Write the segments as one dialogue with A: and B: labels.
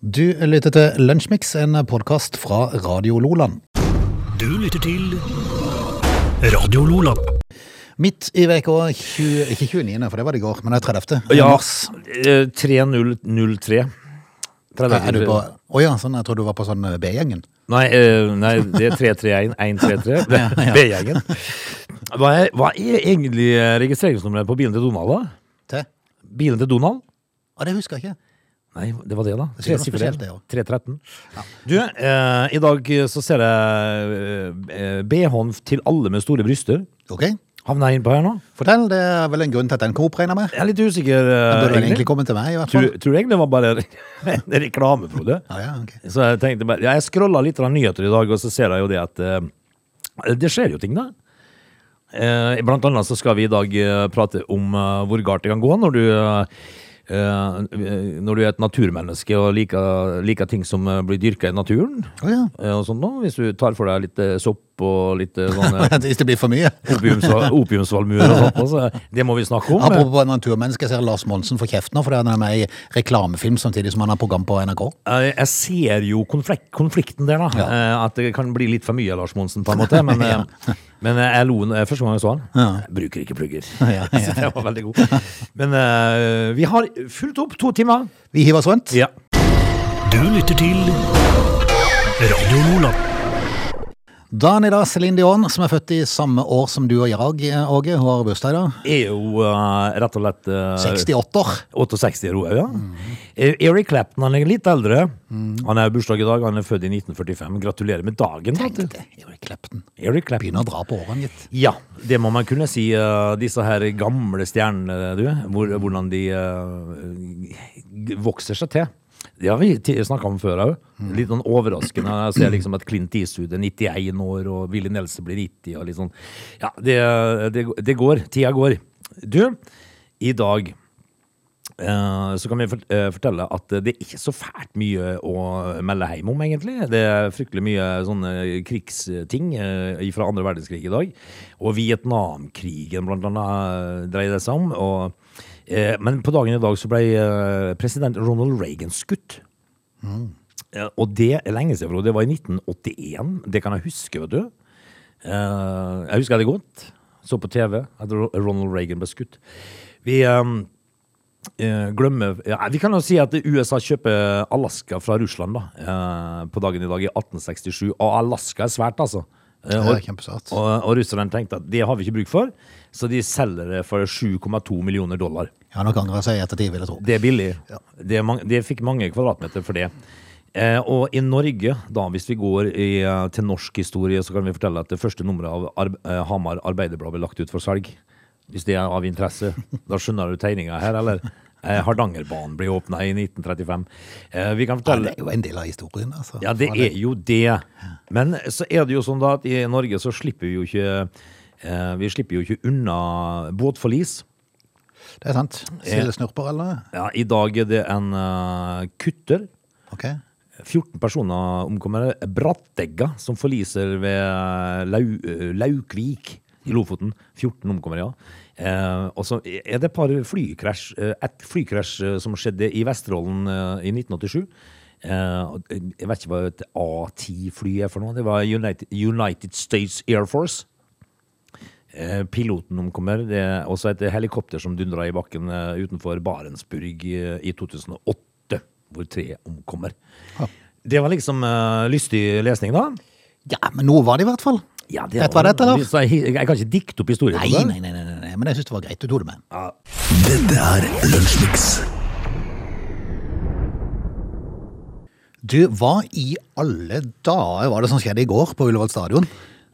A: Du lytter til Lunsjmix, en podkast fra Radio Loland.
B: Du lytter til Radio Lola.
A: Midt i uka 20 Ikke 29., for det var det i går, men det er 30.
C: Ja,
A: Mars.
C: eh, 3003.
A: Er du på Å ja, sånn. Jeg trodde du var på sånn eh, B-gjengen.
C: Nei, eh, nei, det er 331 133. Det
A: Ja, ja.
C: er B-gjengen. Hva, er- hva er egentlig eh, registreringsnummeret på bilen til Donald, da?
A: Til?
C: Bilen til Donald?
A: Å, det husker jeg ikke.
C: Nei, det var det, da.
A: Det er sikkert noe
C: Tresifret.
A: spesielt, det, ja.
C: 313. Du, eh, i dag eh, så ser jeg eh, BH-en til alle med store bryster.
A: Ok,
C: Havna jeg innpå her nå?
A: fortell. Det er vel en grunn til at den kom opp, regner jeg med.
C: Jeg er litt usikker.
A: Den
C: eh,
A: burde vel
C: egentlig.
A: egentlig komme til meg, i hvert
C: Tror,
A: fall.
C: tror du egentlig det var bare en reklame, Frode?
A: Ja, ja, ok.
C: Så jeg tenkte bare, ja, jeg scrollet litt av nyheter i dag, og så ser jeg jo det at eh, det skjer jo ting da. Eh, blant annet så skal vi i dag eh, prate om eh, hvor galt det kan gå når du, eh, eh, når du er et naturmenneske og liker, liker ting som eh, blir dyrket i naturen.
A: Å ja.
C: eh, og sånt nå, hvis du tar for deg litt eh, sopp og litt eh, sånne
A: Hvis det blir for mye.
C: opiums, opiumsvalmuer og sånt. Altså, det må vi snakke om.
A: Apropos naturmenneske, jeg ser Lars Monsen får kjeft nå fordi han er med i reklamefilm samtidig som han har program på NRK.
C: Eh, Jeg ser jo konflik konflikten der, da. Eh, At det kan bli litt for mye Lars Monsen, på en måte. Men, eh, men eh, jeg lo n- eh, første gang jeg så han. Jeg bruker ikke plugger.
A: Ja, ja.
C: Så det var veldig god. Men eh, vi har fulgt opp to timer.
A: Vi hiver oss rundt.
C: Ja.
B: Du lytter til Radio Lola.
A: Dagen i dag, Céline Dion, som er fått i samme år som du og jeg, Åge, hun har bursdag i dag.
C: Er jo eh, rett og slett eh,
A: 68 år.
C: 68 er hun òg, ja.
A: Mm.
C: Eh, Eric Clapton han er litt eldre. Han er bursdag i dag. Han er født i 1945. Gratulerer med dagen. vet du.
A: Tenk det, Eric Clapton.
C: Eric Clapton.
A: Begynner å dra på årene, gitt.
C: Ja, det må man kunne si. eh, disse her gamle stjernene, du. Hvor, hvordan de eh, g- vokser seg til. Det har vi snakka om før òg. Litt sånn overraskende. Jeg ser liksom at Clint Eastwood er 91 år, og Willy Nelson blir 90. og litt sånn. Ja, det, det, det går. Tida går. Du, i dag eh, så kan vi fort- eh, fortelle at det er ikke så fælt mye å melde hjem om, egentlig. Det er fryktelig mye sånne krigsting fra andre verdenskrig i dag. Og Vietnamkrigen, blant annet, eh, dreier det seg om. Og, eh, men på dagen i dag så ble eh, president Ronald Reagan skutt. Eh, Og det er lenge siden, Frode. Det var i 1981. Det kan jeg huske, vet du. Eh, jeg husker det godt. Så på TV at Ro- Ronald Reagan ble skutt. Vi eh, eh, glemmer ja, Vi kan jo si at USA kjøper Alaska fra Russland da, eh, på dagen i dag i 1867. Og Alaska er svært, altså. Eh,
A: Det
C: og-
A: er kjempesvært.
C: og, og russerne tenkte at det har vi ikke bruk for, så de selger det for 7,2 millioner dollar.
A: Jeg har nok angra seg i ettertid, vil jeg tro.
C: Det er billig.
A: Ja.
C: Det, er mang- det fikk mange kvadratmeter for det. Eh, og i Norge, da, hvis vi går i, eh, til norsk historie, så kan vi fortelle at det første nummeret av Arb eh, Hamar Arbeiderblad ble lagt ut for salg. Hvis det er av interesse. Da skjønner du tegninga her, eller? Eh, Hardangerbanen ble åpna i 1935. Eh, vi kan
A: Ja,
C: fortelle
A: det er jo en del av historien, altså.
C: ja, det er jo det. Men så er det jo sånn da at i Norge så slipper vi jo ikke eh, Vi slipper jo ikke unna båtforlis.
A: Det er sant. Silde snurper, eller?
C: Ja, I dag er det en eh, kutter.
A: Ok.
C: 14 personer omkommer. Brattegga, som forliser ved Lau, eh, Laukvik i Lofoten. 14 omkommer, ja. Eh, og så er det et par flykrasj. eh, Et flykrasj eh, som skjedde i Vesterålen eh, i 1987. Eh, og jeg vet ikke hva et A-10-fly er for noe. Det var United, United States Air Force. Eh, Piloten omkommer. Det er også et helikopter som dundra i bakken eh, utenfor Barentsburg eh, i 2008, hvor tre omkommer.
A: Ja.
C: Det var liksom eh, lystig lesning, da.
A: Ja, men noe var det i hvert fall.
C: Ja,
A: Dette var dette, da.
C: Så Jeg, jeg kan ikke dikte opp historien.
A: Nei,
C: på det.
A: nei, nei, nei, nei, nei. men jeg syns det var greit du tok det med.
B: Dette er Lunsjmix.
A: Du, hva i alle dager var det som skjedde i går på Ullevål stadion?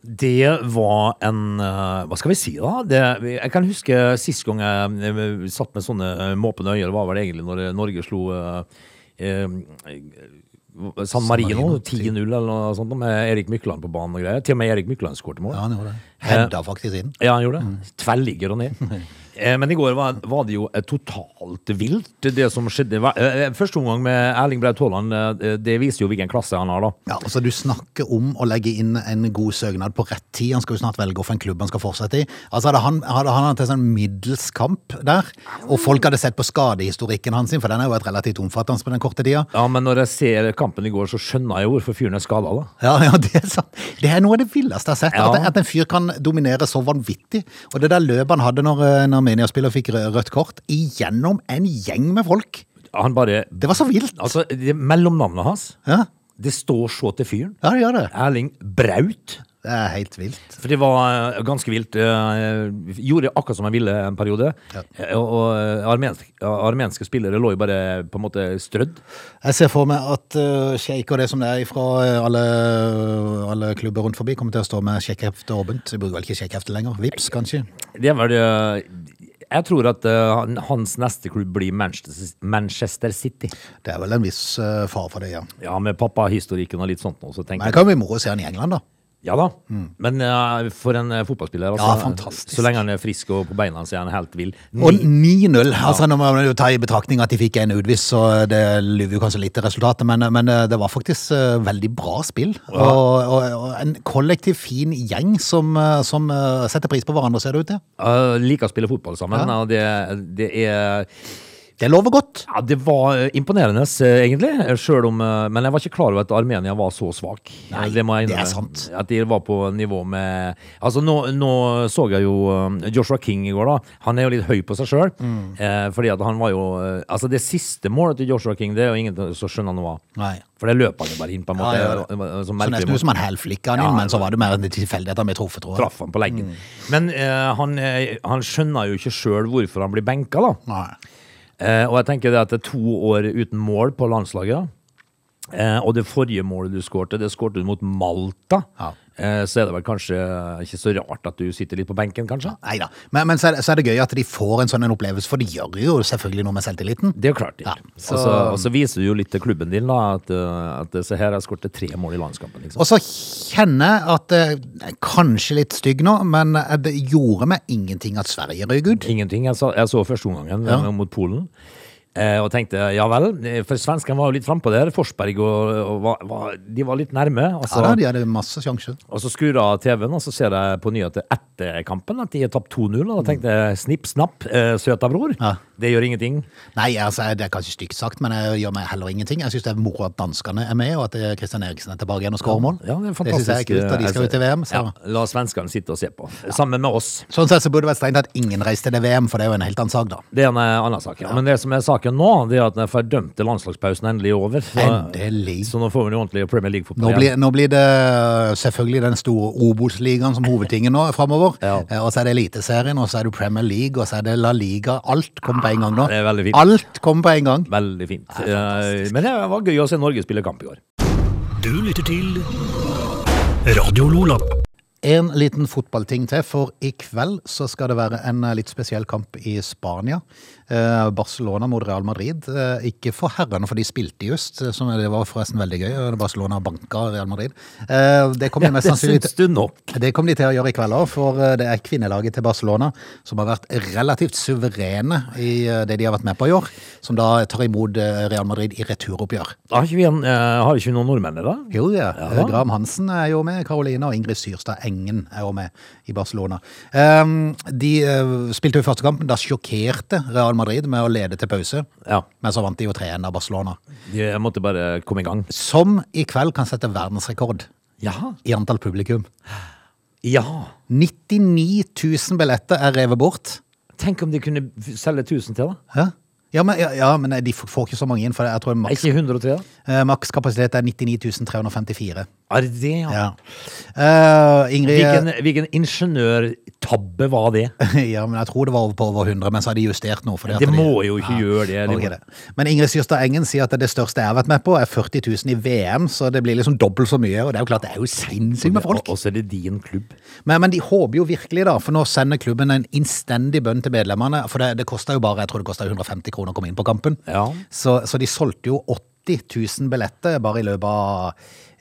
C: Det var en eh, Hva skal vi si, da? Det, jeg kan huske sist gang jeg eh, satt med sånne eh, måpende øyne. Det var vel egentlig når eh, Norge slo eh, eh, San Marino 10-0 eller noe sånt, med Erik Mykland på banen og greier. Til og med Erik Mykland skåret mål.
A: Ja, han gjorde det. Hedda faktisk inn.
C: Ja, han gjorde det. Tverrligger og ned. Eh, Men i går var, var det jo eh, totalt vilt, det som skjedde. Hva- eh, eh, Første omgang med Erling Braut Haaland, eh, eh, det viser jo hvilken klasse han har, da.
A: Ja, altså Du snakker om å legge inn en god søknad på rett tid. Han skal jo snart velge hvilken klubb han skal fortsette i. Altså Hadde han, hadde han hatt en sånn middels kamp der, og folk hadde sett på skadehistorikken hans, sin, for den er jo vært relativt omfattende på den korte tida
C: Ja, Men når jeg ser kampen i går, så skjønner jeg jo hvorfor fyren er skada, da.
A: ja, ja, Det er sant. Det er noe av det villeste jeg har sett.
C: Ja.
A: At, at en fyr kan dominere så vanvittig. Og det der løpet han hadde når eh, en Armenia-spiller fikk rø- rødt kort, igjennom en gjeng med folk.
C: Han bare
A: Det var så vilt.
C: Altså, det, mellomnavnet hans,
A: Ja,
C: det står så til fyren.
A: ja det gjør det.
C: Erling Braut.
A: Det er helt vilt.
C: For det var eh, ganske vilt. eh, Gjorde akkurat som jeg ville en periode.
A: Ja.
C: Eh, Og, og eh, armensk, armenske spillere lå jo bare på en måte strødd.
A: Jeg ser for meg at uh, sjeik og det som det er fra alle, alle klubber rundt forbi, kommer til å stå med sjekkhefte åpent. Vi bruker vel ikke sjekkhefte lenger. Vips, kanskje.
C: Det er vel eh, Jeg tror at eh, han- hans neste klubb blir Manchester, Manchester City.
A: Det er vel en viss uh, fare for det, ja.
C: Ja, med pappahistorikken og litt sånt nå, så
A: Men
C: tenker
A: det
C: jeg
A: kan jo bli moro å se han i England, da.
C: Ja da. Men eh, for en eh, fotballspiller,
A: Ja, fantastisk.
C: Så lenge han er frisk og på beina, så er han helt vill.
A: Og 9-0. altså Når man jo tar i betraktning at de fikk en utvis, så eh, det lyver jo kanskje litt til resultatet, men, men eh, det var faktisk eh, veldig bra spill. Og, og, og en kollektiv, fin gjeng som, eh, som eh, setter pris på hverandre, ser det ut til.
C: Eh, liker å spille fotball sammen,
A: Ja.
C: og det, det er
A: Det lover godt.
C: Ja, det var eh, imponerende, eh, egentlig. eh, Selv om, eh, men jeg var ikke klar over at Armenia var så svak.
A: Nei,
C: Eh, må jeg
A: det er
C: innrømme.
A: sant.
C: At de var på nivå med Altså, nå, nå så jeg jo eh, Joshua King i går, da. Han er jo litt høy på seg sjøl.
A: Mm.
C: Eh, fordi at han var jo eh, Altså, det siste målet til Joshua King, det er jo ingen som skjønner noe av.
A: Nei.
C: For det løper han jo bare inn, på en
A: Ja,
C: måte.
A: ja, Sånn ja.
C: eh, som
A: Så
C: merkelig
A: nesten
C: måte.
A: ut som han hælflikka han
C: Ja,
A: inn, men så var det mer en tilfeldighet han ble truffet, tror jeg.
C: Traff han på leggen.
A: Mm.
C: Men eh, han, eh, han skjønner jo ikke sjøl hvorfor han blir benka, da.
A: Nei.
C: Eh, og jeg tenker det at det er to år uten mål på landslaget. Eh, og det forrige målet du skårte, det skårte du mot Malta.
A: Ja.
C: Eh, så er det vel kanskje ikke så rart at du sitter litt på benken, kanskje?
A: Neida. Men, men så, er det, så er det gøy at de får en sånn en opplevelse, for det gjør jo selvfølgelig noe med selvtilliten.
C: Det er jo klart. det
A: Ja,
C: gjør.
A: så-
C: Og så- Og så viser du jo litt til klubben din da, at, eh, at se her, jeg skårte tre mål i landskampen. Liksom.
A: Og så kjenner jeg at eh, Kanskje litt stygg nå, men eh, det gjorde meg ingenting at Sverige røyk ut.
C: Ingenting. Jeg så, jeg så første omgangen eh, mot Polen. eh, Og tenkte ja vel, eh, for svenskene var jo litt frampå der. Forsberg og, og var, var, de var litt nærme. Altså,
A: Ja da, de hadde masse sjanser.
C: Og så skrur jeg av TV-en, og så ser jeg på nyheter etter kampen at de har tapt 2-0. Og da tenkte jeg snipp, snapp, eh, søta bror.
A: Ja.
C: Det gjør ingenting.
A: Nei, altså, det er kanskje stygt sagt, men det gjør meg heller ingenting. Jeg syns det er moro at danskene er med, og at eh, Christian Eriksen er tilbake igjen og skårer mål.
C: Ja, det er
A: synes
C: fantastisk. eh,
A: jeg er kult, og de skal jo til VM. Så.
C: Ja, la svenskene sitte og se på. Sammen med oss.
A: Sånn sett så burde det vært strengt at ingen reiste til det VM, for det er jo en helt annen sak, da.
C: Det er en eh, annen sak. Ja. Men det som er saken nå, det er at den fordømte landslagspausen endelig er over. Så,
A: Endelig.
C: så nå får vi jo ordentlig Premier
A: Nå
C: League-fotball
A: blir, nå blir det selvfølgelig den store Obos-ligaen som hovedtingen nå framover.
C: Ja.
A: Og så er det Eliteserien, og så er det Premier League, og så er det La Liga. Alt kommer på en gang nå.
C: Det er veldig fint.
A: Alt kommer på en gang.
C: Veldig fint. Eh, Men det var gøy å se Norge spille kamp i år.
B: Du lytter til Radio Lola.
A: En liten fotballting til, for i kveld så skal det være en eh, litt spesiell kamp i Spania. Eh, Barcelona mot Real Madrid. Eh, ikke for herrene, for de spilte just. eh, Som det var forresten veldig gøy. eh, Barcelona banka Real Madrid. Eh, det kommer de mest
C: Det
A: sannsynlig til.
C: syns du nå.
A: Det kommer de til å gjøre i kveld òg, for eh, det er kvinnelaget til Barcelona som har vært relativt suverene i eh, det de har vært med på i år, som da tar imot eh, Real Madrid i returoppgjør.
C: Da har ikke vi en, eh, har ikke vi noen nordmenn i dag?
A: Jo, ja.
C: Ja.
A: Graham Hansen er jo med, Karoline og Ingrid Syrstad Engen er jo med i Barcelona. Ehm, de eh, spilte jo første kampen, da sjokkerte Real Madrid med å lede til pause.
C: Ja.
A: Men så vant de jo 3-1 av Barcelona,
C: Jeg måtte bare komme i gang.
A: som i kveld kan sette verdensrekord
C: Ja.
A: i antall publikum.
C: Ja.
A: 99 000 billetter er revet bort.
C: Tenk om de kunne f- selge 1000 til, da?
A: Hæ? Ja, men, ja, ja, men de får får ikke så mange inn, for jeg tror
C: Nei,
A: maks,
C: ikke 103, da?
A: eh, maks kapasitet er 99 354.
C: Er det det, ja?
A: Ja. Eh, Ingrid
C: Ah. Hvilken, hvilken ingeniørtabbe var det?
A: Ja, men jeg tror det var over på over 100, men så har de justert noe. fordi at
C: Det
A: de-
C: må jo ikke gjøre det.
A: Ja,
C: De
A: ok
C: må-
A: det. Men Ingrid Syrstad Engen sier at det største jeg har vært med på, er 40 000 i VM, så det blir liksom dobbelt så mye. Og det er jo klart, det er jo sinnssykt med folk.
C: Og og så er det din klubb.
A: Men, men de håper jo virkelig, da, for nå sender klubben en innstendig bønn til medlemmene. For det, det kosta jo bare jeg tror det kosta 150 kroner å komme inn på kampen.
C: Ja.
A: Så, så de solgte jo åtte 80 000 billetter bare i løpet av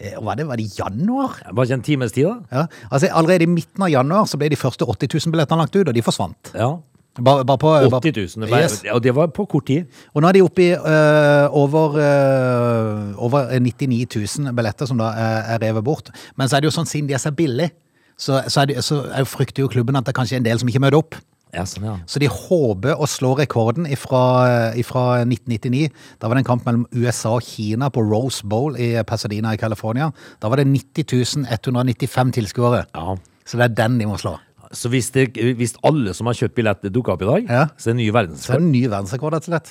A: eh, Hva er det, var det januar?
C: Var ikke en times tid, da?
A: Ja, altså Allerede i midten av januar så ble de første 80 000 billettene lagt ut, og de forsvant.
C: Ja.
A: Bare, bare på,
C: 80 000. Det var,
A: Yes.
C: Og det var på kort tid.
A: Og nå er de oppe i øh, over, øh, over 99 000 billetter som da eh, er, er revet bort. Men så er det jo sånn, siden de er så billig, så, så, er de, så er- frykter jo klubben at det kanskje er en del som ikke møter opp.
C: Ja, sånn, ja.
A: Så de håper å slå rekorden ifra, eh, ifra 1999. Da var det en kamp mellom USA og Kina på Rose Bowl i Pasadena i California. Da var det 90 195 tilskuere.
C: ja.
A: Så det er den de må slå.
C: Så hvis, det, hvis alle som har kjøpt billett, dukker opp i dag,
A: Ja.
C: så er det ny
A: Så det er
C: verdensrekord.
A: en ny verdensrekord, rett og slett.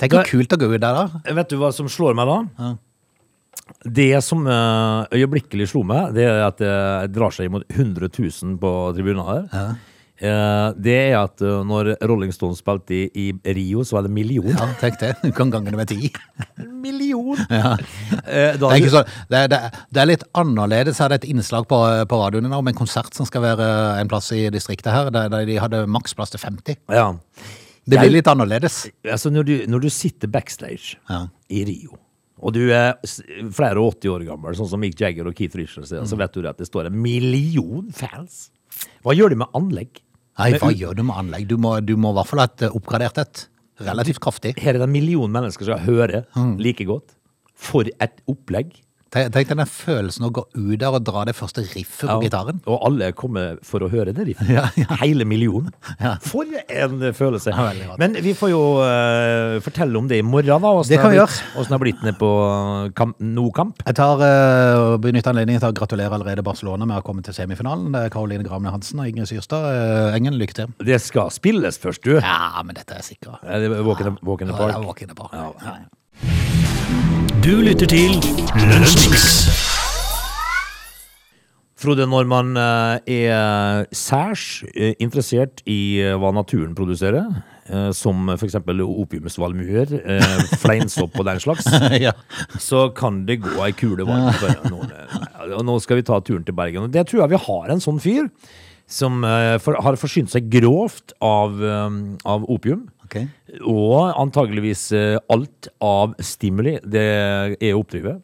A: Tenk hvor
C: Da-
A: kult å gå ut der, da.
C: Vet du hva som slår meg da? Det som eh, øyeblikkelig slo meg, det er at det drar seg imot 100 000 på tribunen her. Eh, Det er at eh, når Rolling Stones spilte i, i Rio, så var det en million.
A: Ja, tenk det. Du kan gange det med ti.
C: En million! Eh, Da,
A: Det er, ikke sånn, det, er- det, er- det er litt annerledes. Her er det et innslag på, på radioen i dag om en konsert som skal være en plass i distriktet her, der, der de hadde maksplass til 50.
C: ja.
A: Det
C: Jeg-
A: blir litt annerledes.
C: Altså, når, du, når du sitter backstage
A: Ja.
C: i Rio, og du er s- flere og 80 år gammel, sånn som Mick Jagger og Keith Richards, er, så
A: Mm.
C: vet du det at det står en million fans. Hva gjør de med anlegg?
A: Nei,
C: Men
A: hva
C: u-
A: gjør du med anlegg? Du må, du må i hvert fall ha et eh, oppgradert et. Relativt kraftig.
C: Her er det en million mennesker som hører
A: Mm.
C: like godt. For et opplegg.
A: Tenk tenk deg den følelsen å gå ut der og dra det første riffet på gitaren.
C: Og alle kommer for å høre det. De.
A: Ja, ja.
C: Hele millionen. For en eh, følelse.
A: Ja, veldig godt.
C: Men vi får jo eh, fortelle om det i morgen, da. Hvordan
A: Det kan vi
C: har blitt- hvordan det har blitt ned på kamp, Nokamp.
A: Jeg tar, eh, og benytter anledningen til å gratulere allerede Barcelona med å komme til semifinalen. Det er Karoline Gramne Hansen og Ingrid Syrstad. eh, Engen, lykke til.
C: Det skal spilles først, du.
A: Ja, men dette er sikkert.
C: Ja, det er Walk in the- Walk in the
A: Ja, det er
C: park.
A: walk in the park. Ja, ja.
B: Du lytter til Lunsjmix.
C: Frode, når man eh, er særs eh, interessert i eh, hva naturen produserer, eh, som f.eks. opiumsvalmuer, eh, fleinsopp og den slags,
A: ja.
C: så kan det gå ei kule varmt for noen. Nei, Og nå skal vi ta turen til Bergen. Og det tror jeg vi har en sånn fyr som eh, for, har forsynt seg grovt av, eh, av opium.
A: Ok.
C: Og antageligvis eh, alt av stimuli det er å oppdrive.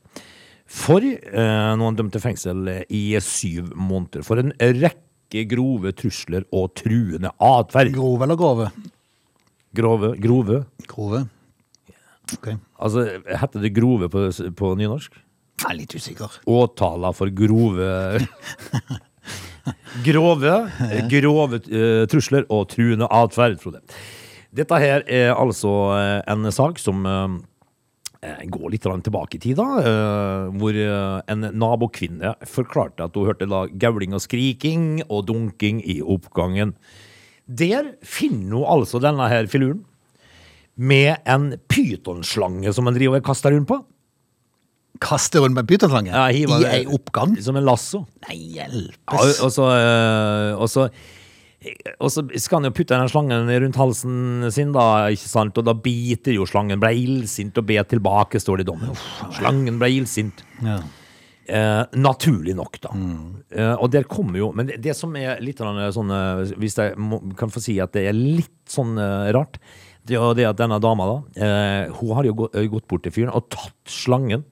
C: For eh, noen dømte fengsel i syv måneder. For en rekke grove trusler og truende atferd.
A: Grove eller grove?
C: Grove, grove.
A: Grove. Ok. Jeg
C: Altså, heter det grove på, på nynorsk?
A: er litt usikker.
C: åtala for grove Grove, grove eh, trusler og truende atferd, Frode. Dette her er altså eh, en sak som eh, går litt grann tilbake i tid, da. eh, hvor eh, en nabokvinne forklarte at hun hørte da gauling og skriking og dunking i oppgangen. Der finner hun altså denne her filuren med en pytonslange som han driver og kaster rundt på.
A: Kaste rundt med pytonslange?
C: Ja,
A: I
C: hiver det-
A: ei oppgang?
C: Som en lasso.
A: Nei, hjelpes.
C: Ja, og, og så, eh, og så og så skal han jo putte den slangen rundt halsen sin, da, ikke sant? og da biter jo slangen. Ble illsint og bet tilbake, står det i dommen. Slangen ble illsint.
A: Ja.
C: Eh, naturlig nok, da. Eh, og der kommer jo Men det, det som er litt grann sånn eh, Hvis jeg må, kan få si at det er litt sånn eh, rart, det er jo det at denne dama, da, eh, hun har jo gå- eh, gått bort til fyren og tatt slangen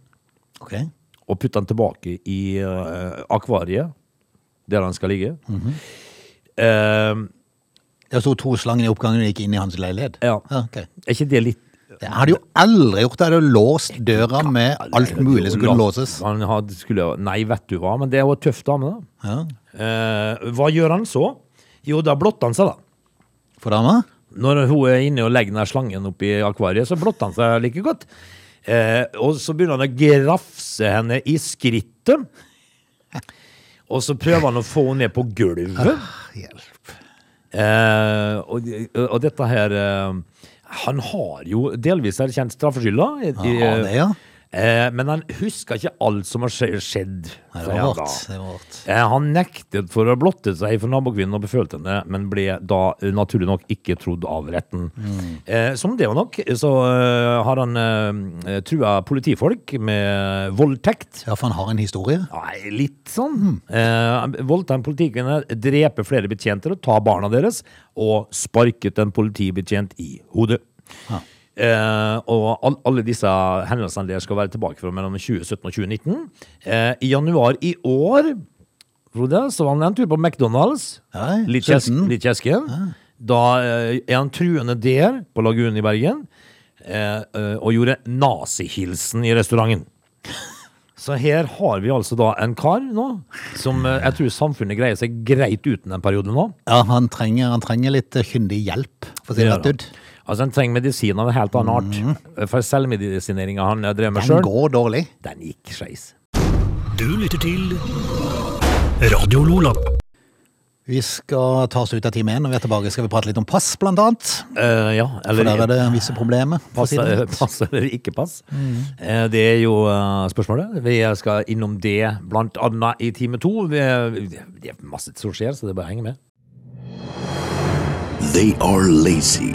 A: Ok.
C: og putte den tilbake i eh, akvariet, der den skal ligge. Eh,
A: Det sto to slanger i oppgangen og gikk inn i hans leilighet?
C: Ja.
A: ok.
C: er ikke det litt
A: Jeg hadde jo aldri gjort det. Jeg hadde jo låst døra med alt mulig som kunne låses.
C: Han hadde, skulle, nei, vet du hva, men det er jo en tøff dame, da.
A: Ja.
C: Eh, hva gjør han så? Jo, da blotter han seg, da.
A: For dama?
C: Når hun er inne og legger den slangen oppi akvariet, så blotter han seg like godt. Eh, og så begynner han å grafse henne i skrittet. Og så prøver han å få henne ned på gulvet.
A: Hjelp.
C: Eh, og, og dette her eh, Han har jo delvis erkjent straffskylda. i- i-
A: Ja, det, ja.
C: eh, men han husker ikke alt som har skje- skjedd.
A: Nei,
C: sa
A: det
C: han
A: var
C: da.
A: vårt. Det var vårt.
C: Eh, Han nektet for å blotte seg for nabokvinnen og befølte henne, men ble da eh, naturlig nok ikke trodd av retten.
A: Mm.
C: Eh, som det var nok, så eh, har han eh, trua politifolk med voldtekt.
A: Ja, for han har en historie.
C: Nei, litt sånn. Eh, voldta en politikvinne, drepe flere betjenter og ta barna deres, og sparket en politibetjent i hodet. Eh, og all, alle disse hendelsene der skal være tilbake fra mellom 2017 og 2019. Eh, I januar i år Frode, så var han en tur på McDonald's.
A: Nei,
C: litt, kjes
A: sulten.
C: litt kjesken. Da eh, er han truende der, på Lagunen i Bergen, eh, eh, og gjorde nazihilsen i restauranten. Så her har vi altså da en kar nå, som eh, jeg tror samfunnet greier seg greit uten en periode nå.
A: Ja, han trenger, han trenger litt eh, kyndig hjelp, for å si det rett ut.
C: Altså, han trenger medisin av en helt annen art. For selvmedisineringa han eh, drev med
A: Mhm. Den
C: sjøl,
A: går dårlig.
C: den gikk skeis.
B: Du lytter til Radio Lola.
A: Vi skal ta oss ut av time én, og vi er tilbake skal vi prate litt om pass, blant annet.
C: Eh, ja,
A: For
C: eller
A: der er det visse problemer. for å
C: pass,
A: si det. Mhm.
C: pass eller ikke pass. Eh, Det er jo eh, spørsmålet. Vi skal innom det blant annet i time to. Vi, det er masse som skjer, så det er bare å henge med.
D: They are lazy.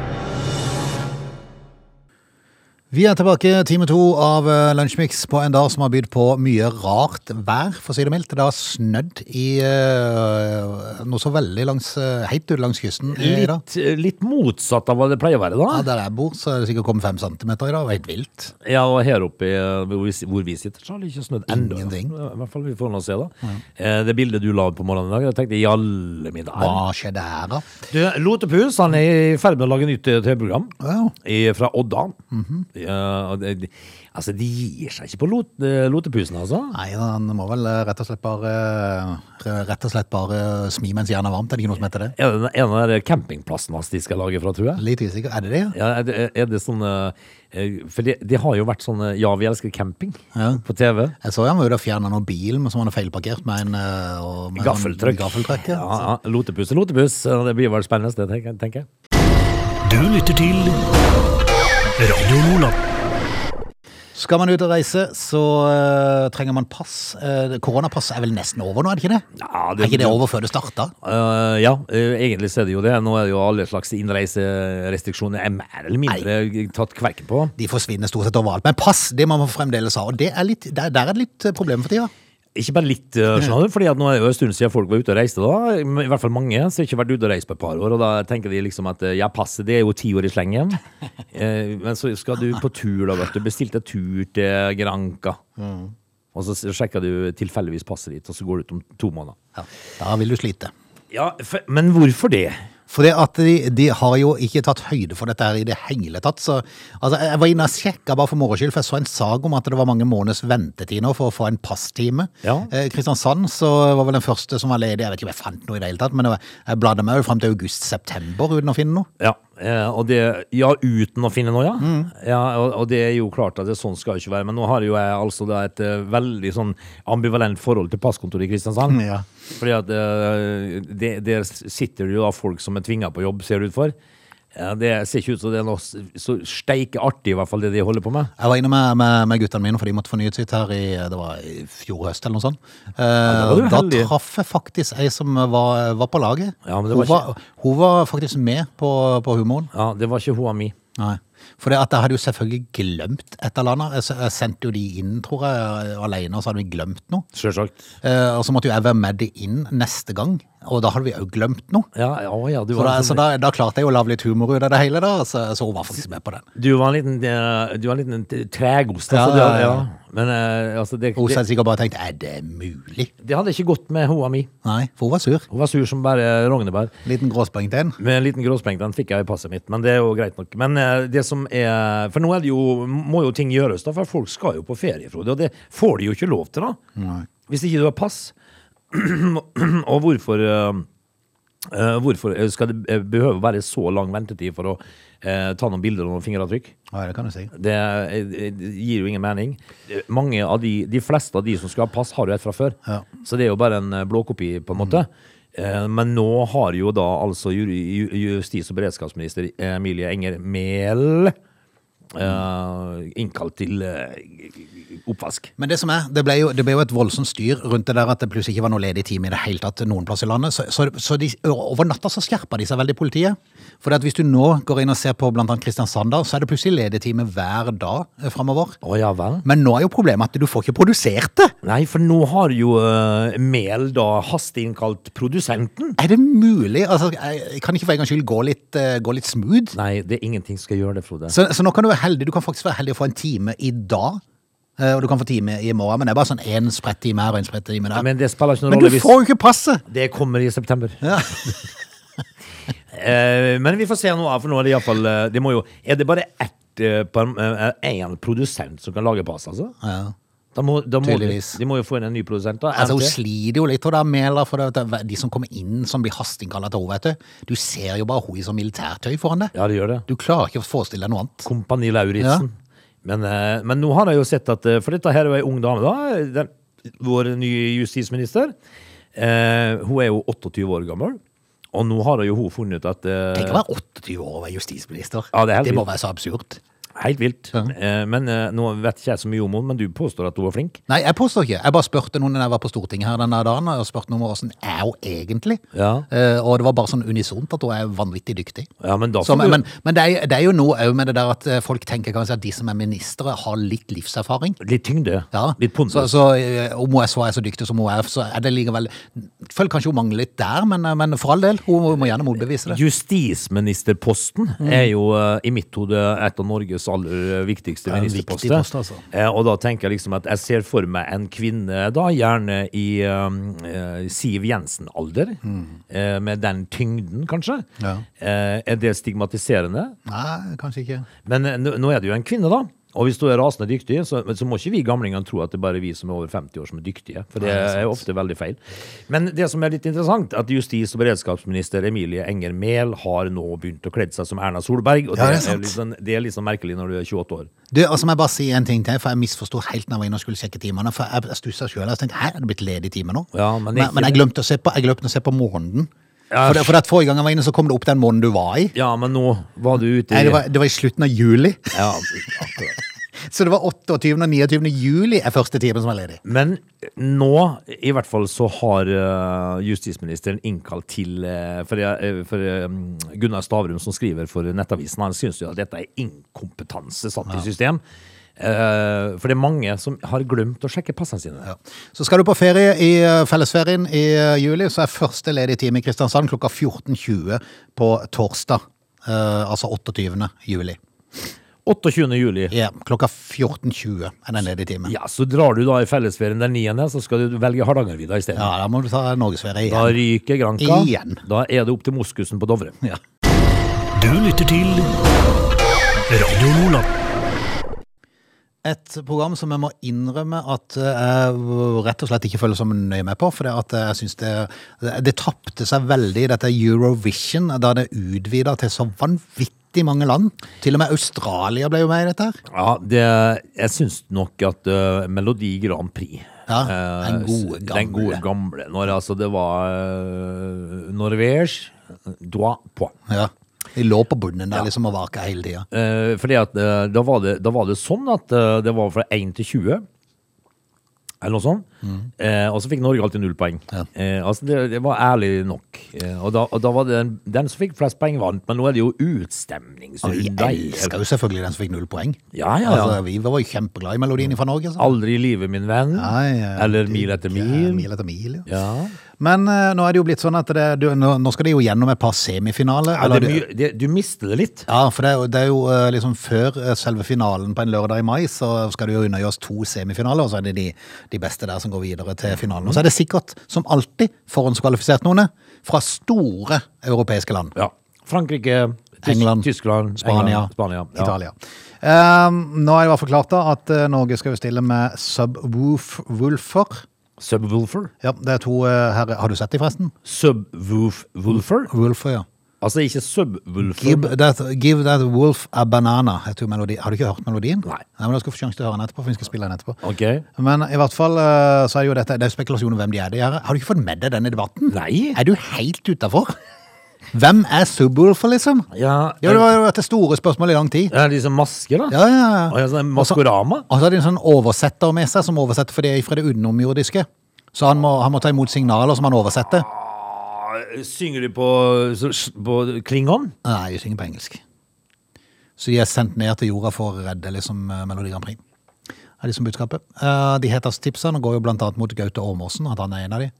A: Vi er tilbake time to av eh, Lunsjmix på en dag som har bydd på mye rart vær, for å si det mildt. Det har snødd i eh, noe så veldig langs, eh, helt ute langs kysten i dag.
C: Litt, litt motsatt av hva det pleier å være,
A: Ja,
C: da.
A: der jeg bor, så er det sikkert kommet fem centimeter i dag. Det var helt vilt.
C: Ja, og her oppe i, eh, hvor vi, hvor vi sitter, så har det ikke snødd ennå.
A: Ingenting.
C: I hvert fall vi får nå se, da. Eh, Det bildet du la ut på morgenen i dag, jeg tenkte i alle mine dager.
A: Hva skjedde her, da?
C: Du, Lotepus han er i ferd med å lage nytt eh, TV-program
A: Ja.
C: I- fra Odda.
A: Mhm.
C: Ja, og det- de, altså, de gir seg ikke på lot, eh, Lotepusen, altså.
A: Nei, han må vel eh, rett og slett bare, eh, rett og slett bare smi mens jernet er varmt. Er det ikke noe som heter det?
C: Er det en av de der campingplassene hans de skal lage fra, tror jeg?
A: Litt usikker. Er det det, ja?
C: Ja, er, det, er det sånn eh, eh, For det, det har jo vært sånn eh, Ja, vi elsker camping
A: Ja.
C: på TV.
A: Jeg så han var ute og fjerna noen bil men som han har feilparkert med en eh, og- med en
C: Gaffeltrøkk.
A: gaffeltrøkk,
C: Ja,
A: ja.
C: ja, lotepus er lotepus. og Det blir vel spennende, det, tenker, tenker jeg.
B: Du lytter til Radio Lola.
A: Skal man ut og reise, så eh, trenger man pass. Eh, koronapass er vel nesten over nå, er det ikke det?
C: Ja,
A: Er ikke det over før det starta?
C: Eh, ja, eh, egentlig så er det jo det. Nå er det jo alle slags innreiserestriksjoner er mer eller mindre tatt kverken på.
A: De forsvinner stort sett overalt. Men pass, det må man fremdeles ha. Og det er litt, der, der er det litt eh, problem for tida.
C: Ikke bare litt, eh, skjønner du, fordi at nå er det jo en stund siden folk var ute og reiste da, i hvert fall mange, som ikke har vært ute og reist på et par år, og da tenker de liksom at eh, ja, passet, det er jo ti år i slengen, eh, men så skal du på tur da, vet du, bestilte tur til Granca, og så s- sjekker du tilfelligvis passet ditt, og så går du ut om to måneder.
A: Da vil du slite.
C: Ja, f- men hvorfor det?
A: For det at de, de har jo ikke tatt høyde for dette her i det hele tatt. Så, altså, jeg var inne og sjekka bare for moro skyld, for jeg så en sag om at det var mange måneders ventetid nå for å få en passtime.
C: Ja.
A: Eh, Kristiansand så var vel den første som var ledig. Jeg vet ikke om jeg fant noe i det hele tatt, men det var, jeg bladde meg jo fram til august-september uten å finne noe.
C: Ja, eh, og det, ja, uten å finne noe, ja. ja og, og det er jo klart at det, sånn skal det ikke være. Men nå har jo jeg altså da et eh, veldig sånn ambivalent forhold til passkontoret i Kristiansand.
A: Ja.
C: Fordi at eh, det, der sitter det jo da folk som er tvinga på jobb, ser det ut for. Ja, det ser ikke ut som det er noe s- så steike artig, i hvert fall, det de holder på med.
A: Jeg var inne med, med, med guttene mine, for de måtte fornyet sitt her i, det var i fjor høst eller noe sånt. Eh,
C: var du
A: da
C: heldig.
A: traff jeg faktisk ei som var, var på laget.
C: Ja, men det
A: hun,
C: var
A: var, hun var faktisk med på, på humoren.
C: Ja, Det var ikke hoa mi.
A: Nei. For det at jeg hadde jo selvfølgelig glemt et eller annet. Jeg s- Jeg sendte jo de inn, tror jeg, alene, og så hadde vi glemt noe.
C: Sjølsagt.
A: Eh, og så måtte jo jeg være med de inn neste gang, og da hadde vi jo glemt noe.
C: Ja, ja, å ja, du
A: Så,
C: var
A: da,
C: en
A: så
C: sånn-
A: da, da klarte jeg jo å lage litt humor ut av det hele, da, så, så hun var faktisk med på den.
C: du var en liten, eh, du var en liten t- tregost,
A: Ja,
C: altså.
A: ja,
C: du-
A: ja.
C: Men eh, altså, det,
A: Hun
C: det,
A: hadde sikkert bare tenkt 'er det mulig'?
C: det hadde ikke gått med hoa mi.
A: Nei, for hun var sur.
C: Hun var sur som bare rognebær.
A: Liten gråspreng til en.
C: Med en liten gråsprengt, den fikk jeg i passet mitt, men det er jo greit nok. Men eh, det som er For nå er det jo, må jo ting gjøres, da, for folk skal jo på ferie, Frode. Og det får de jo ikke lov til, da. Hvis ikke du har pass. og hvorfor eh, eh, Hvorfor skal det eh, behøve å være så lang ventetid for å eh, ta noen bilder og noen fingeravtrykk?
A: Ja, det kan du si.
C: Det, eh, det gir jo ingen mening. Eh, Mange av de, de fleste av de som skal ha pass, har jo et fra før.
A: Ja.
C: Så det er jo bare en eh, blåkopi, på en måte. Eh, Men nå har jo da altså ju- ju- justis- og beredskapsminister Emilie Enger Mehl eh, innkalt til eh, oppvask.
A: Men det som er, det ble, jo, det ble jo et voldsomt styr rundt det der at det plutselig ikke var noe ledig time i det hele tatt noen plass i landet. Så, så, så de, over natta så skjerpa de seg veldig, politiet. For at hvis du nå går inn og ser på blant annet Kristiansand, da, så er det plutselig ledig time hver dag framover.
C: Å ja vel.
A: Men nå er jo problemet at du får ikke produsert det!
C: Nei, for nå har jo eh, Mehl da hasteinnkalt produsenten.
A: Er det mulig? Altså, jeg kan ikke for en gangs skyld gå litt, eh, gå litt smooth?
C: Nei, det er ingenting som skal gjøre det, Frode.
A: Så, så nå kan du være heldig. Du kan faktisk være heldig å få en time i dag. eh, Og du kan få time i morgen, men det er bare sånn én spredt time her og en spredt time der.
C: Nei, men det spiller ikke noen
A: men du
C: rolle hvis
A: får jo ikke passet!
C: det kommer i september. Eh, men vi får se nå, for nå er det iallfall eh, Det må jo Er det bare ett eh, par- eh, én produsent som kan lage pasta, altså?
A: Ja.
C: Da må, da må de,
A: Tydeligvis.
C: de må jo få inn en ny produsent, da.
A: Altså, hun
C: RT.
A: sliter jo litt, hun der Mæhler, for det, at de som kommer inn som blir hastinnkalla til henne, vet du. Du ser jo bare hun i sånn militærtøy foran deg.
C: ja, det gjør det.
A: Du klarer ikke å forestille deg noe annet.
C: Kompani Lauritzen. Men, eh, men nå har jeg jo sett at eh, For dette her er jo ei ung dame, da. Den, vår nye justisminister. Eh, hun er jo 28 år gammel, og nå har jo hun funnet ut at eh,
A: Tenk å være 28 år og være justisminister.
C: Ja, det er helt
A: må
C: vilt.
A: være så absurd.
C: Helt vilt.
A: Ja.
C: Eh, men eh, nå vet ikke jeg så mye om henne, men du påstår at hun var flink.
A: Nei, jeg påstår ikke. Jeg bare spurte noen da jeg var på Stortinget her denne dagen, og spurte noen om hvordan er hun egentlig?
C: Ja.
A: Eh, og det var bare sånn unisont at hun er vanvittig dyktig.
C: Ja, men da får
A: Som,
C: du-
A: men men det, er, det er jo noe òg med det der at eh, folk tenker kanskje at de som er ministre, har litt livserfaring.
C: Litt tyngde.
A: Ja,
C: Litt pondus.
A: så, så eh, om hun er så, er så dyktig som hun er, så er det likevel Føler kanskje hun mangler litt der, men, eh, men for all del, hun må gjerne motbevise det. Mm.
C: Justisministerposten er jo eh, i mitt hode et av Norges aller eh, viktigste
A: er en viktig
C: ministerposter.
A: post, altså.
C: Eh, og da tenker jeg liksom at jeg ser for meg en kvinne, da gjerne i eh, eh, Siv Jensen-alder, eh, med den tyngden, kanskje.
A: Mm. Ja.
C: Eh, er det stigmatiserende?
A: Nei, kanskje ikke.
C: Men eh, nå nå er det jo en kvinne, da. Og hvis du er rasende dyktig, så, men så må ikke vi gamlingene tro at det bare er vi som er over 50 år som er dyktige. For det
A: Nei, det er
C: er ofte veldig feil. Men det som er litt interessant, at justis- og beredskapsminister Emilie Enger Mehl har nå begynt å kle seg som Erna Solberg. Og
A: Ja,
C: det,
A: det er
C: er
A: sant.
C: litt sånn- det er litt sånn merkelig når du er 28 år.
A: Du, og så må jeg bare si en ting til, for jeg misforsto helt når jeg var inne og skulle sjekke timene. For jeg stussa sjøl. Jeg tenkte her er det blitt ledig time nå.
C: Ja, men
A: men,
C: ikke-
A: jeg glemte å se på, jeg glemte å se på måneden.
C: Ja.
A: For, det, for at forrige gang jeg var inne, så kom det opp den måneden du var i.
C: Ja, men nå var du ute
A: Nei,
C: i
A: det var, det var i slutten av juli.
C: ja, akkurat.
A: Så det var 28. og 29. juli er første timen som er ledig.
C: Men nå, i hvert fall, så har eh, justisministeren innkalt til eh, For, jeg- eh, for eh, Gunnar Stavrum, som skriver for Nettavisen, han syns jo at dette er inkompetanse satt i system. Eh, for det er mange som har glemt å sjekke passene sine.
A: Ja. Så skal du på ferie i eh, fellesferien i eh, juli, så er første ledige time i Kristiansand klokka 14.20 på torsdag. Eh, altså 28. juli.
C: 28. juli.
A: Ja, klokka 14.20 er den ledige timen. Ja.
C: Ja, så drar du da i fellesferien den 9., så skal du velge Hardangervidda i stedet.
A: da må du ta norgesferie
C: Da
A: igjen.
C: ryker Granka.
A: Igjen.
C: Da er det opp til moskusen på Dovre.
A: Ja.
B: Du lytter til Radio Lola.
A: Et program som jeg må innrømme at eh, jeg rett og slett ikke følger så nøye med på. For det at jeg synes det, det tapte seg veldig, i dette Eurovision, da det utvida til så vanvittig mange land. Til og med Australia ble jo med i dette her.
C: Ja, det, jeg syns nok at eh, Melodi Grand Prix
A: Ja,
C: eh,
A: Ah, den gode
C: Den gode gamle. Når altså det var uh, Norvège Trois points.
A: Ja. De lå på bunnen der liksom og vaka hele tida.
C: Eh, fordi at eh, da, var det, da var det sånn at eh, det var fra 1 til 20. Eller noe sånt. Eh, og så fikk Norge alltid null poeng.
A: Mm. Ja.
C: Eh, altså det, det var ærlig nok. Eh, og, da, og da var det den, den som fikk flest poeng, vant. Men nå er det jo
A: Vi
C: utstemningsrunde. i-
A: elska jo selvfølgelig den som fikk null poeng.
C: Ja, ja, ja.
A: Altså, vi var jo kjempeglade i melodien fra Norge. Så.
C: Aldri i live, min venn.
A: Nei, ja,
C: Eller
A: det-
C: mil etter
A: ja,
C: mil.
A: mil etter mil, ja.
C: Ja.
A: Men eh, nå er det jo blitt sånn at det, du, nå, nå skal de jo gjennom et par semifinaler.
C: Ja, det,
A: eller-
C: er mye- det, du mister det litt.
A: ja, for det er, jo- det er jo eh, liksom før eh, selve finalen på en lørdag i mai, så skal det jo undergjøres to semifinaler, og så er det de, de beste der som går videre til finalen. Og så er det sikkert, som alltid, forhåndskvalifisert noen eh, fra store europeiske land.
C: Ja. Frankrike, Tysk,
A: England,
C: Tyskland,
A: Spania,
C: England, Spania ja.
A: Italia. Ehm, nå er det i hvert fall klart da at eh, Norge skal jo stille med Subwoolfer.
C: Subwoolfer.
A: Ja, det er to eh, herre. Har du sett de forresten?
C: Subwoolfer.
A: Woolfer, ja.
C: Altså ikke subwoolfer.
A: Give that, give that wolf a banana, heter jo melodi. Har du ikke hørt melodien?
C: Nei.
A: men Da skal du få sjanse til å høre den etterpå, for vi skal spille den etterpå.
C: Ok.
A: Men i hvert fall eh, så er det jo dette, det er spekulasjon om hvem de er, de her. Har du ikke fått med deg denne debatten?
C: Nei.
A: Er du helt utafor? Hvem er Subwoolfer, liksom?
C: Ja,
A: Ja, Det har jo vært det store spørsmålet i lang tid.
C: Ja, de som masker, da?
A: Ja, ja, ja.
C: Og ja, sånn Maskorama?
A: Og så har de en sånn oversetter med seg, som oversetter for det er fra det underjordiske. Så han må, han må ta imot signaler som han oversetter.
C: Eh, Synger de på, så- på klingon?
A: Nei, de synger på engelsk. Så de er sendt ned til jorda for å redde liksom, eh, Melodi Grand Prix. Er de som budskapet. Eh, de heter tipsene og går jo blant annet mot Gaute Åmåsen, at han er en av de.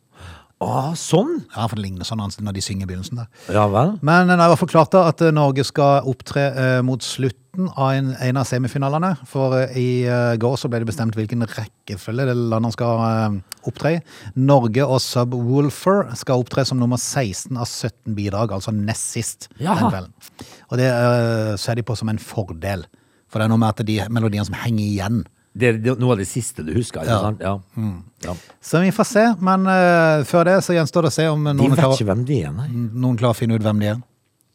C: Ah, sånn?
A: Ja, for det ligner sånn hans når de synger i begynnelsen der.
C: Ja vel.
A: Men det var forklart da at eh, Norge skal opptre eh, mot slutten av en, en av semifinalene. For eh, i eh, går så ble det bestemt hvilken rekkefølge det landene skal eh, opptre i. Norge og Subwoolfer skal opptre som nummer 16 av 17 bidrag, altså nest sist
C: Ja.
A: den kvelden. Og det eh, ser de på som en fordel. For det er noe med at de melodiene som henger igjen.
C: Det er det- noe av det siste du husker, ikke
A: Ja. Mm.
C: sant? Ja. ja.
A: Så vi får se, men eh, før det så gjenstår det å se om
C: De
A: noen
C: vet
A: klarer,
C: ikke hvem de er, nei.
A: noen klarer å finne ut hvem de er.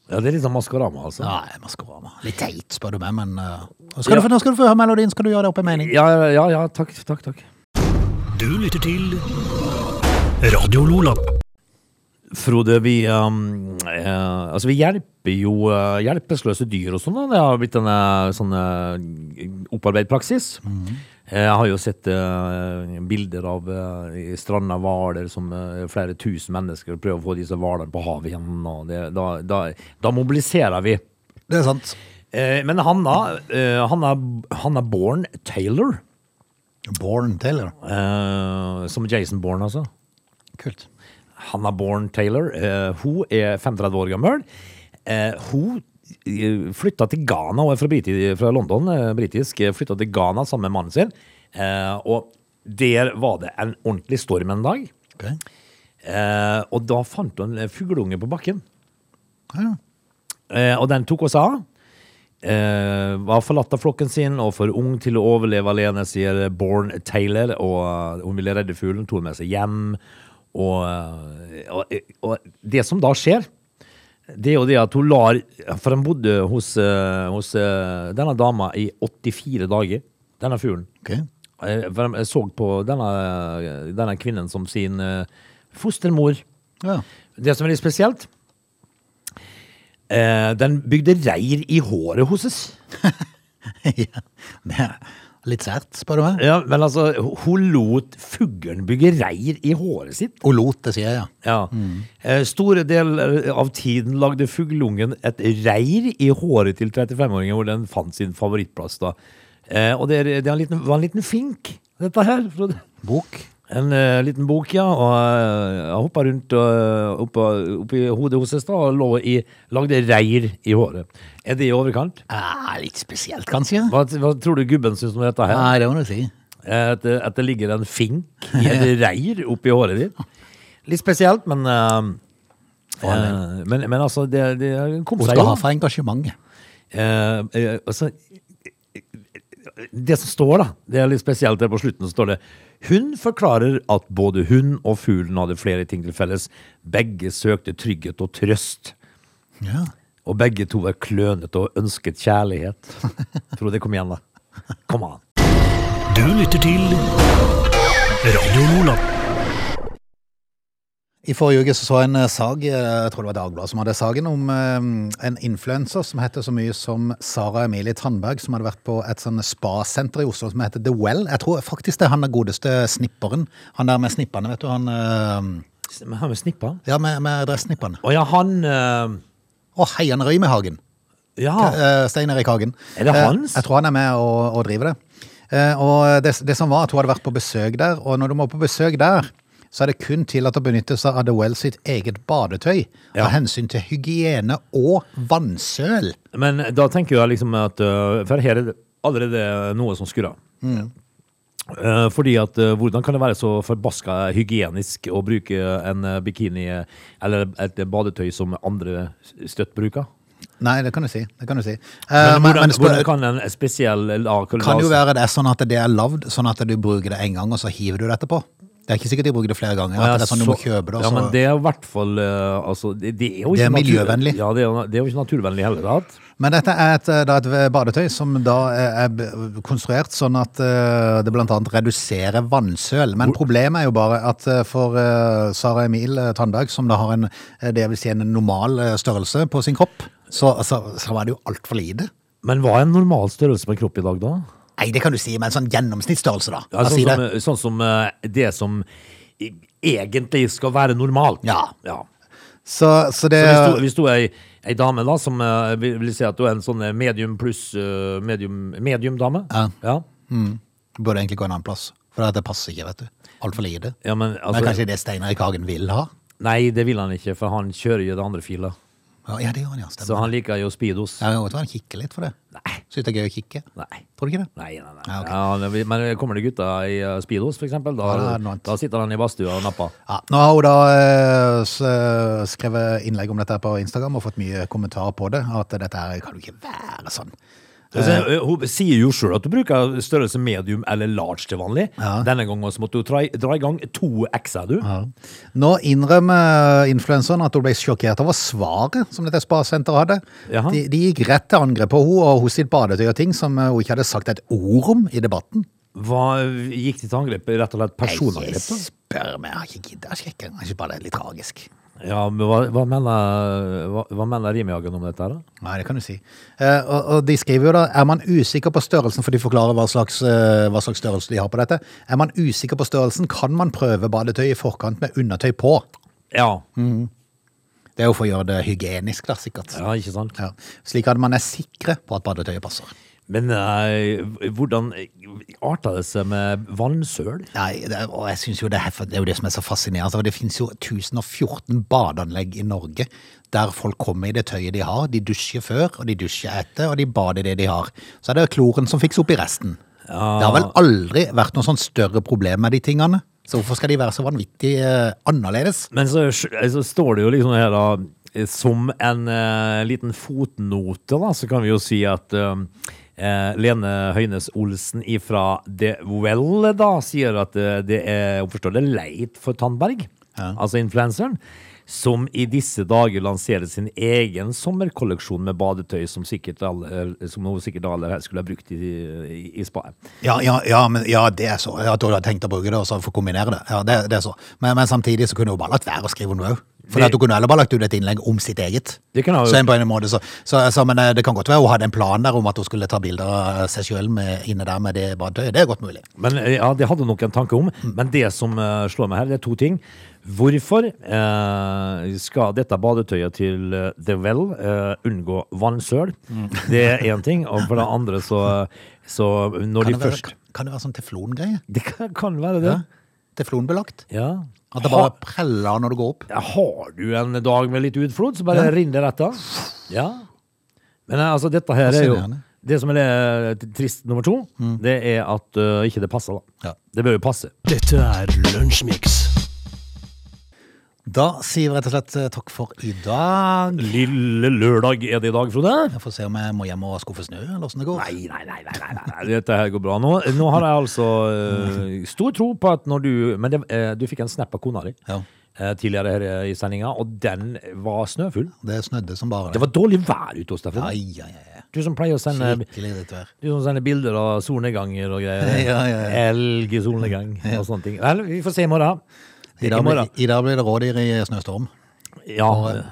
C: Ja, Det er litt sånn Maskorama, altså.
A: Nei, Maskorama. Litt teit, spør du meg, men eh, nå skal,
C: Ja.
A: du, få- nå skal du få høre melodien, skal du gjøre det opp i mening.
C: Ja, ja, ja, ja takk, takk, takk.
B: Du lytter til Radio Lola.
C: Frode, vi, um, eh, altså vi hjelper jo eh, hjelpeløse dyr og sånn. da. Det har blitt en eh, sånn eh, opparbeidet praksis. Eh, Jeg har jo sett eh, bilder av eh, i stranda hvaler som eh, flere tusen mennesker prøver å få disse hvalene på havet igjen. Og det, da, da, da mobiliserer vi.
A: Det er sant.
C: Eh, men Hanna, eh, Hanna, Hanna Born Taylor,
A: Born Taylor.
C: eh, som Jason Born, altså.
A: Kult.
C: Hannah Bourne Taylor. eh, hun er 35 år gammel. Eh, hun eh, flytta til Ghana, hun er fra, Briti, fra London, eh, britisk. eh, Flytta til Ghana sammen med mannen sin. Eh, og der var det en ordentlig storm en dag.
A: Ok.
C: Eh, og da fant hun en fugleunge på bakken.
A: Ja, ja.
C: Eh, og den tok oss av. Eh, var forlatt av flokken sin og for ung til å overleve alene, sier Born Taylor. Og eh, hun ville redde fuglen, tok den med seg hjem. Og, eh, og, og det som da skjer, det er jo det at hun lar For den bodde hos, eh, hos eh, denne dama i 84 dager, denne fuglen.
A: Ok.
C: Eh, For de så på denne, eh, denne kvinnen som sin eh, fostermor.
A: Ja.
C: Det som er litt spesielt eh, Den bygde reir i håret hos oss.
A: ja. Det er litt sært, spør du meg.
C: Ja, men altså, hun lot fuglen bygge reir i håret sitt.
A: Og lot, det sier jeg, ja.
C: Ja.
A: Mm.
C: Eh, store deler av tiden lagde fugleungen et reir i håret til 35-åringen, hvor den fant sin favorittplass. da. Eh, og det, er, det er en liten, var en liten fink, dette her. Frode.
A: Bok.
C: En eh, liten bok, ja. Og eh, jeg hoppa rundt uh, oppi, hodet hos oss da, og lå i, lagde reir i håret. Er det i overkant?
A: Ah, litt spesielt, kanskje.
C: Hva, hva tror du gubben syns om dette her?
A: Nei, det må du si.
C: Eh, At, det- at det ligger en fink i et reir oppi håret ditt? Litt spesielt, men eh,
A: For all del.
C: eh, men, men altså, det, det kom
A: Hun
C: seg
A: skal
C: jo.
A: ha for engasjementet.
C: Eh, eh, altså, det som står, da, det er litt spesielt der på slutten, så står det Hun forklarer at både hun og fuglen hadde flere ting til felles. Begge søkte trygghet og trøst.
A: Ja.
C: Og begge to var klønete og ønsket kjærlighet. Frode, kom igjen, da. Kom an.
B: Du lytter til Radio Lola.
A: I forrige uke så, så jeg en eh, sag, eh, jeg tror det var Dagbladet som hadde saken, om eh, en influenser som heter så mye som Sara Emilie Tandberg, som hadde vært på et sånn spasenter i Oslo som heter The Well. Jeg tror faktisk det er han den godeste snipperen. Han der med snippene, vet du. Han eh,
C: Men Har vi snippa?
A: Ja, med, med dressnippene.
C: Å ja, han eh,
A: Å, hei, han Røymehagen.
C: Ja.
A: Eh, Stein Erik Hagen.
C: Er det
A: Eh,
C: hans?
A: Jeg tror han er med og, og driver det. Eh, Og det, det som var at hun hadde vært på besøk der, og når du må på besøk der, så er det kun tillatt å benytte seg av The Well sitt eget badetøy
C: Ja.
A: av hensyn til hygiene og vannsøl.
C: Men da tenker jeg liksom at øh, For her er det allerede noe som skurrer.
A: Mm.
C: Eh, Fordi at eh, Hvordan kan det være så forbaska hygienisk å bruke en eh, bikini eh, eller et badetøy som andre støtt bruker?
A: Nei, det kan du si. Det kan du si. Eh,
C: Men,
A: men-
C: hvordan,
A: men spør-
C: hvordan kan en spesiell lag
A: kan det jo være det er sånn at det er lavd, sånn at du bruker det en gang, og så hiver du det etterpå? Det er ikke sikkert de bruker det flere ganger.
C: Og jeg
A: At det er sånn du må
C: så-
A: kjøpe det. og
C: Ja,
A: så-
C: men det er jo i hvert fall eh, altså, det, det er jo
A: Det er
C: ikke natur-
A: miljøvennlig.
C: Ja, det er, jo- det er jo ikke naturvennlig heller. Da.
A: Men dette er et, eh, da et badetøy som da eh, er b- konstruert sånn at eh, det blant annet reduserer vannsøl. Men problemet er jo bare at eh, for eh, Sara Emil eh, Tandberg, som da har en, eh, det jeg vil si en normal eh, størrelse på sin kropp, så, så, så er det jo altfor lite.
C: Men hva er en normal størrelse på en kropp i dag, da?
A: Nei, det kan du si, men sånn gjennomsnittsstørrelse, da. Hva
C: Ja, sånn,
A: sier
C: som,
A: Altså, det?
C: eh, sånn som eh, det som i- egentlig skal være normalt.
A: Ja. Eh,
C: ja.
A: Så, så det
C: Så hvis du, hvis du er ei, ei dame da, som eh, vil, vil si at du er en sånn eh, medium pluss eh, medium, medium dame
A: Ja.
C: ja.
A: burde egentlig gå en annen plass. For det passer ikke, vet du. Altfor lite.
C: Ja, men,
A: Det er
C: altså,
A: kanskje det Steinar i Kagen vil ha?
C: Nei, det vil han ikke, for han kjører jo det andre filet.
A: Ja, Ja, det gjør han, ja.
C: Så
A: Stemmer.
C: han liker jo Speedos.
A: Ja, vet du hva, han kikker litt for det.
C: Nei.
A: Syns det er gøy å kikke.
C: Nei.
A: Tror du ikke det?
C: Nei, nei, nei.
A: Ja, ok.
C: Ja, det blir- men kommer det gutta i eh, Speedos, for eksempel, da,
A: Ja, det er noe annet.
C: da sitter han i badstua og napper.
A: Ja, nå har hun da eh, s- skrevet innlegg om dette her på Instagram og fått mye kommentarer på det. At dette her kan jo ikke være sånn.
C: Altså, eh, hun sier jo sjøl at du bruker størrelse medium eller large til vanlig. Denne gangen så måtte du dra, i- dra i gang to X-er, du.
A: Ja. Nå innrømmer influenseren at hun ble sjokkert over svaret som dette spasenteret hadde.
C: Jaha.
A: De, de gikk rett til angrep på henne og hos sitt badetøy og ting som eh, hun ikke hadde sagt et ord om i debatten.
C: Hva gikk de til angrep? Rett og slett
A: Ikke
C: personangrep? da?
A: spør meg, jeg har ikke giddet å sjekke. Jeg synes bare det er litt tragisk.
C: Ja, men hva, hva mener, hva, hva mener Rimjagen om dette her, da?
A: Nei, det kan du si. Eh, og, og de skriver jo da Er man usikker på størrelsen, for de forklarer hva slags, eh, hva slags størrelse de har på dette. Er man usikker på størrelsen, kan man prøve badetøy i forkant med undertøy på.
C: Ja.
A: Mm. Det er jo for å gjøre det hygienisk, da, sikkert.
C: ja, ikke sant?
A: Ja. Slik at man er sikre på at badetøyet passer.
C: Men eh, hvordan arta det seg med vannsøl?
A: Nei, det er, og jeg synes jo det, er, det er jo det som er så fascinerende. altså, for Det finnes jo 1014 badeanlegg i Norge der folk kommer i det tøyet de har. De dusjer før, og de dusjer etter, og de bader i det de har. Så er det kloren som fikser opp i resten. Det har vel aldri vært noe sånn større problem med de tingene. Så hvorfor skal de være så vanvittig eh, annerledes?
C: Men så, så står det jo liksom her da eh, Som en eh, liten fotnote da Så kan vi jo si at eh, eh, Lene Høynes Olsen ifra The Well da Sier at eh, det er Hun forstår det er leit for Tandberg Altså influenseren som i disse dager lanserer sin egen sommerkolleksjon med badetøy som, sikkert alle, eh, som hun sikkert alle her skulle ha brukt i, i, i spaet.
A: Ja, ja, ja, men, ja, det er så. At hun har tenkt å bruke det og så få kombinere det. Ja, det, det er så. Men, men samtidig så kunne hun bare latt være å skrive om det òg. For
C: Det-
A: at hun kunne heller bare lagt ut et innlegg om sitt eget.
C: Det kunne hun
A: så
C: jo-
A: en på en måte så, så, så, Men eh, det kan godt være hun hadde en plan der om at hun skulle ta bilder av seg sjøl inne der med det badetøyet. Det er godt mulig.
C: Men eh, ja, det hadde jeg nok en tanke om. Men det som eh, slår meg her, det er to ting. Hvorfor eh, skal dette badetøyet til eh, The Well eh, unngå vannsøl? Det er én ting. Og for det andre så, så
A: Kan
C: når de
A: det,
C: først
A: være, kan det være sånn teflongreie?
C: Det kan, kan være det.
A: Teflonbelagt?
C: Ja.
A: At det bare preller når du går opp?
C: Ha, har du en dag med litt utflod, så bare rinner det rett av. Ja. Men eh, altså, dette her er jo
A: Fascinerende.
C: Det som er det trist nummer to, det er at eh, ikke det passer, da.
A: Mm. Ja.
C: Det bør jo passe.
B: Dette er Lunsjmix.
A: Da sier vi rett og slett eh, takk for i dag.
C: Lille lørdag er det i dag, Frode.
A: Jeg får se om jeg må hjem og skuffe snø, eller åssen det går.
C: Nei, nei, nei, nei, nei, nei. dette her går bra. Nå, nå har jeg altså eh, stor tro på at når du Men det, eh, du fikk en snap av kona di
A: Ja.
C: eh, tidligere her eh, i sendinga, og den var snøfull.
A: Det snødde som bare
C: Det var dårlig vær ute hos deg. Frode.
A: Ai, ai, ai.
C: Du som pleier å sende
A: Skikkelig drittvær.
C: du som sender bilder av solnedganger og greier.
A: Ja, ja, ja.
C: Elg i solnedgang og sånne ting. Vel, vi får se i morgen.
A: I
C: I
A: dag, blir,
C: morgen.
A: I dag blir det rådyr i snøstorm.
C: Ja,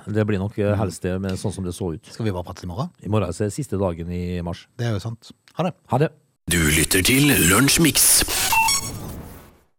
C: det blir nok eh, helst det, men sånn som det så ut.
A: Skal vi bare prate i morgen?
C: I morgen er det siste dagen i mars.
A: Det er jo sant. Ha det.
C: Ha det.
B: Du lytter til Lunsjmix.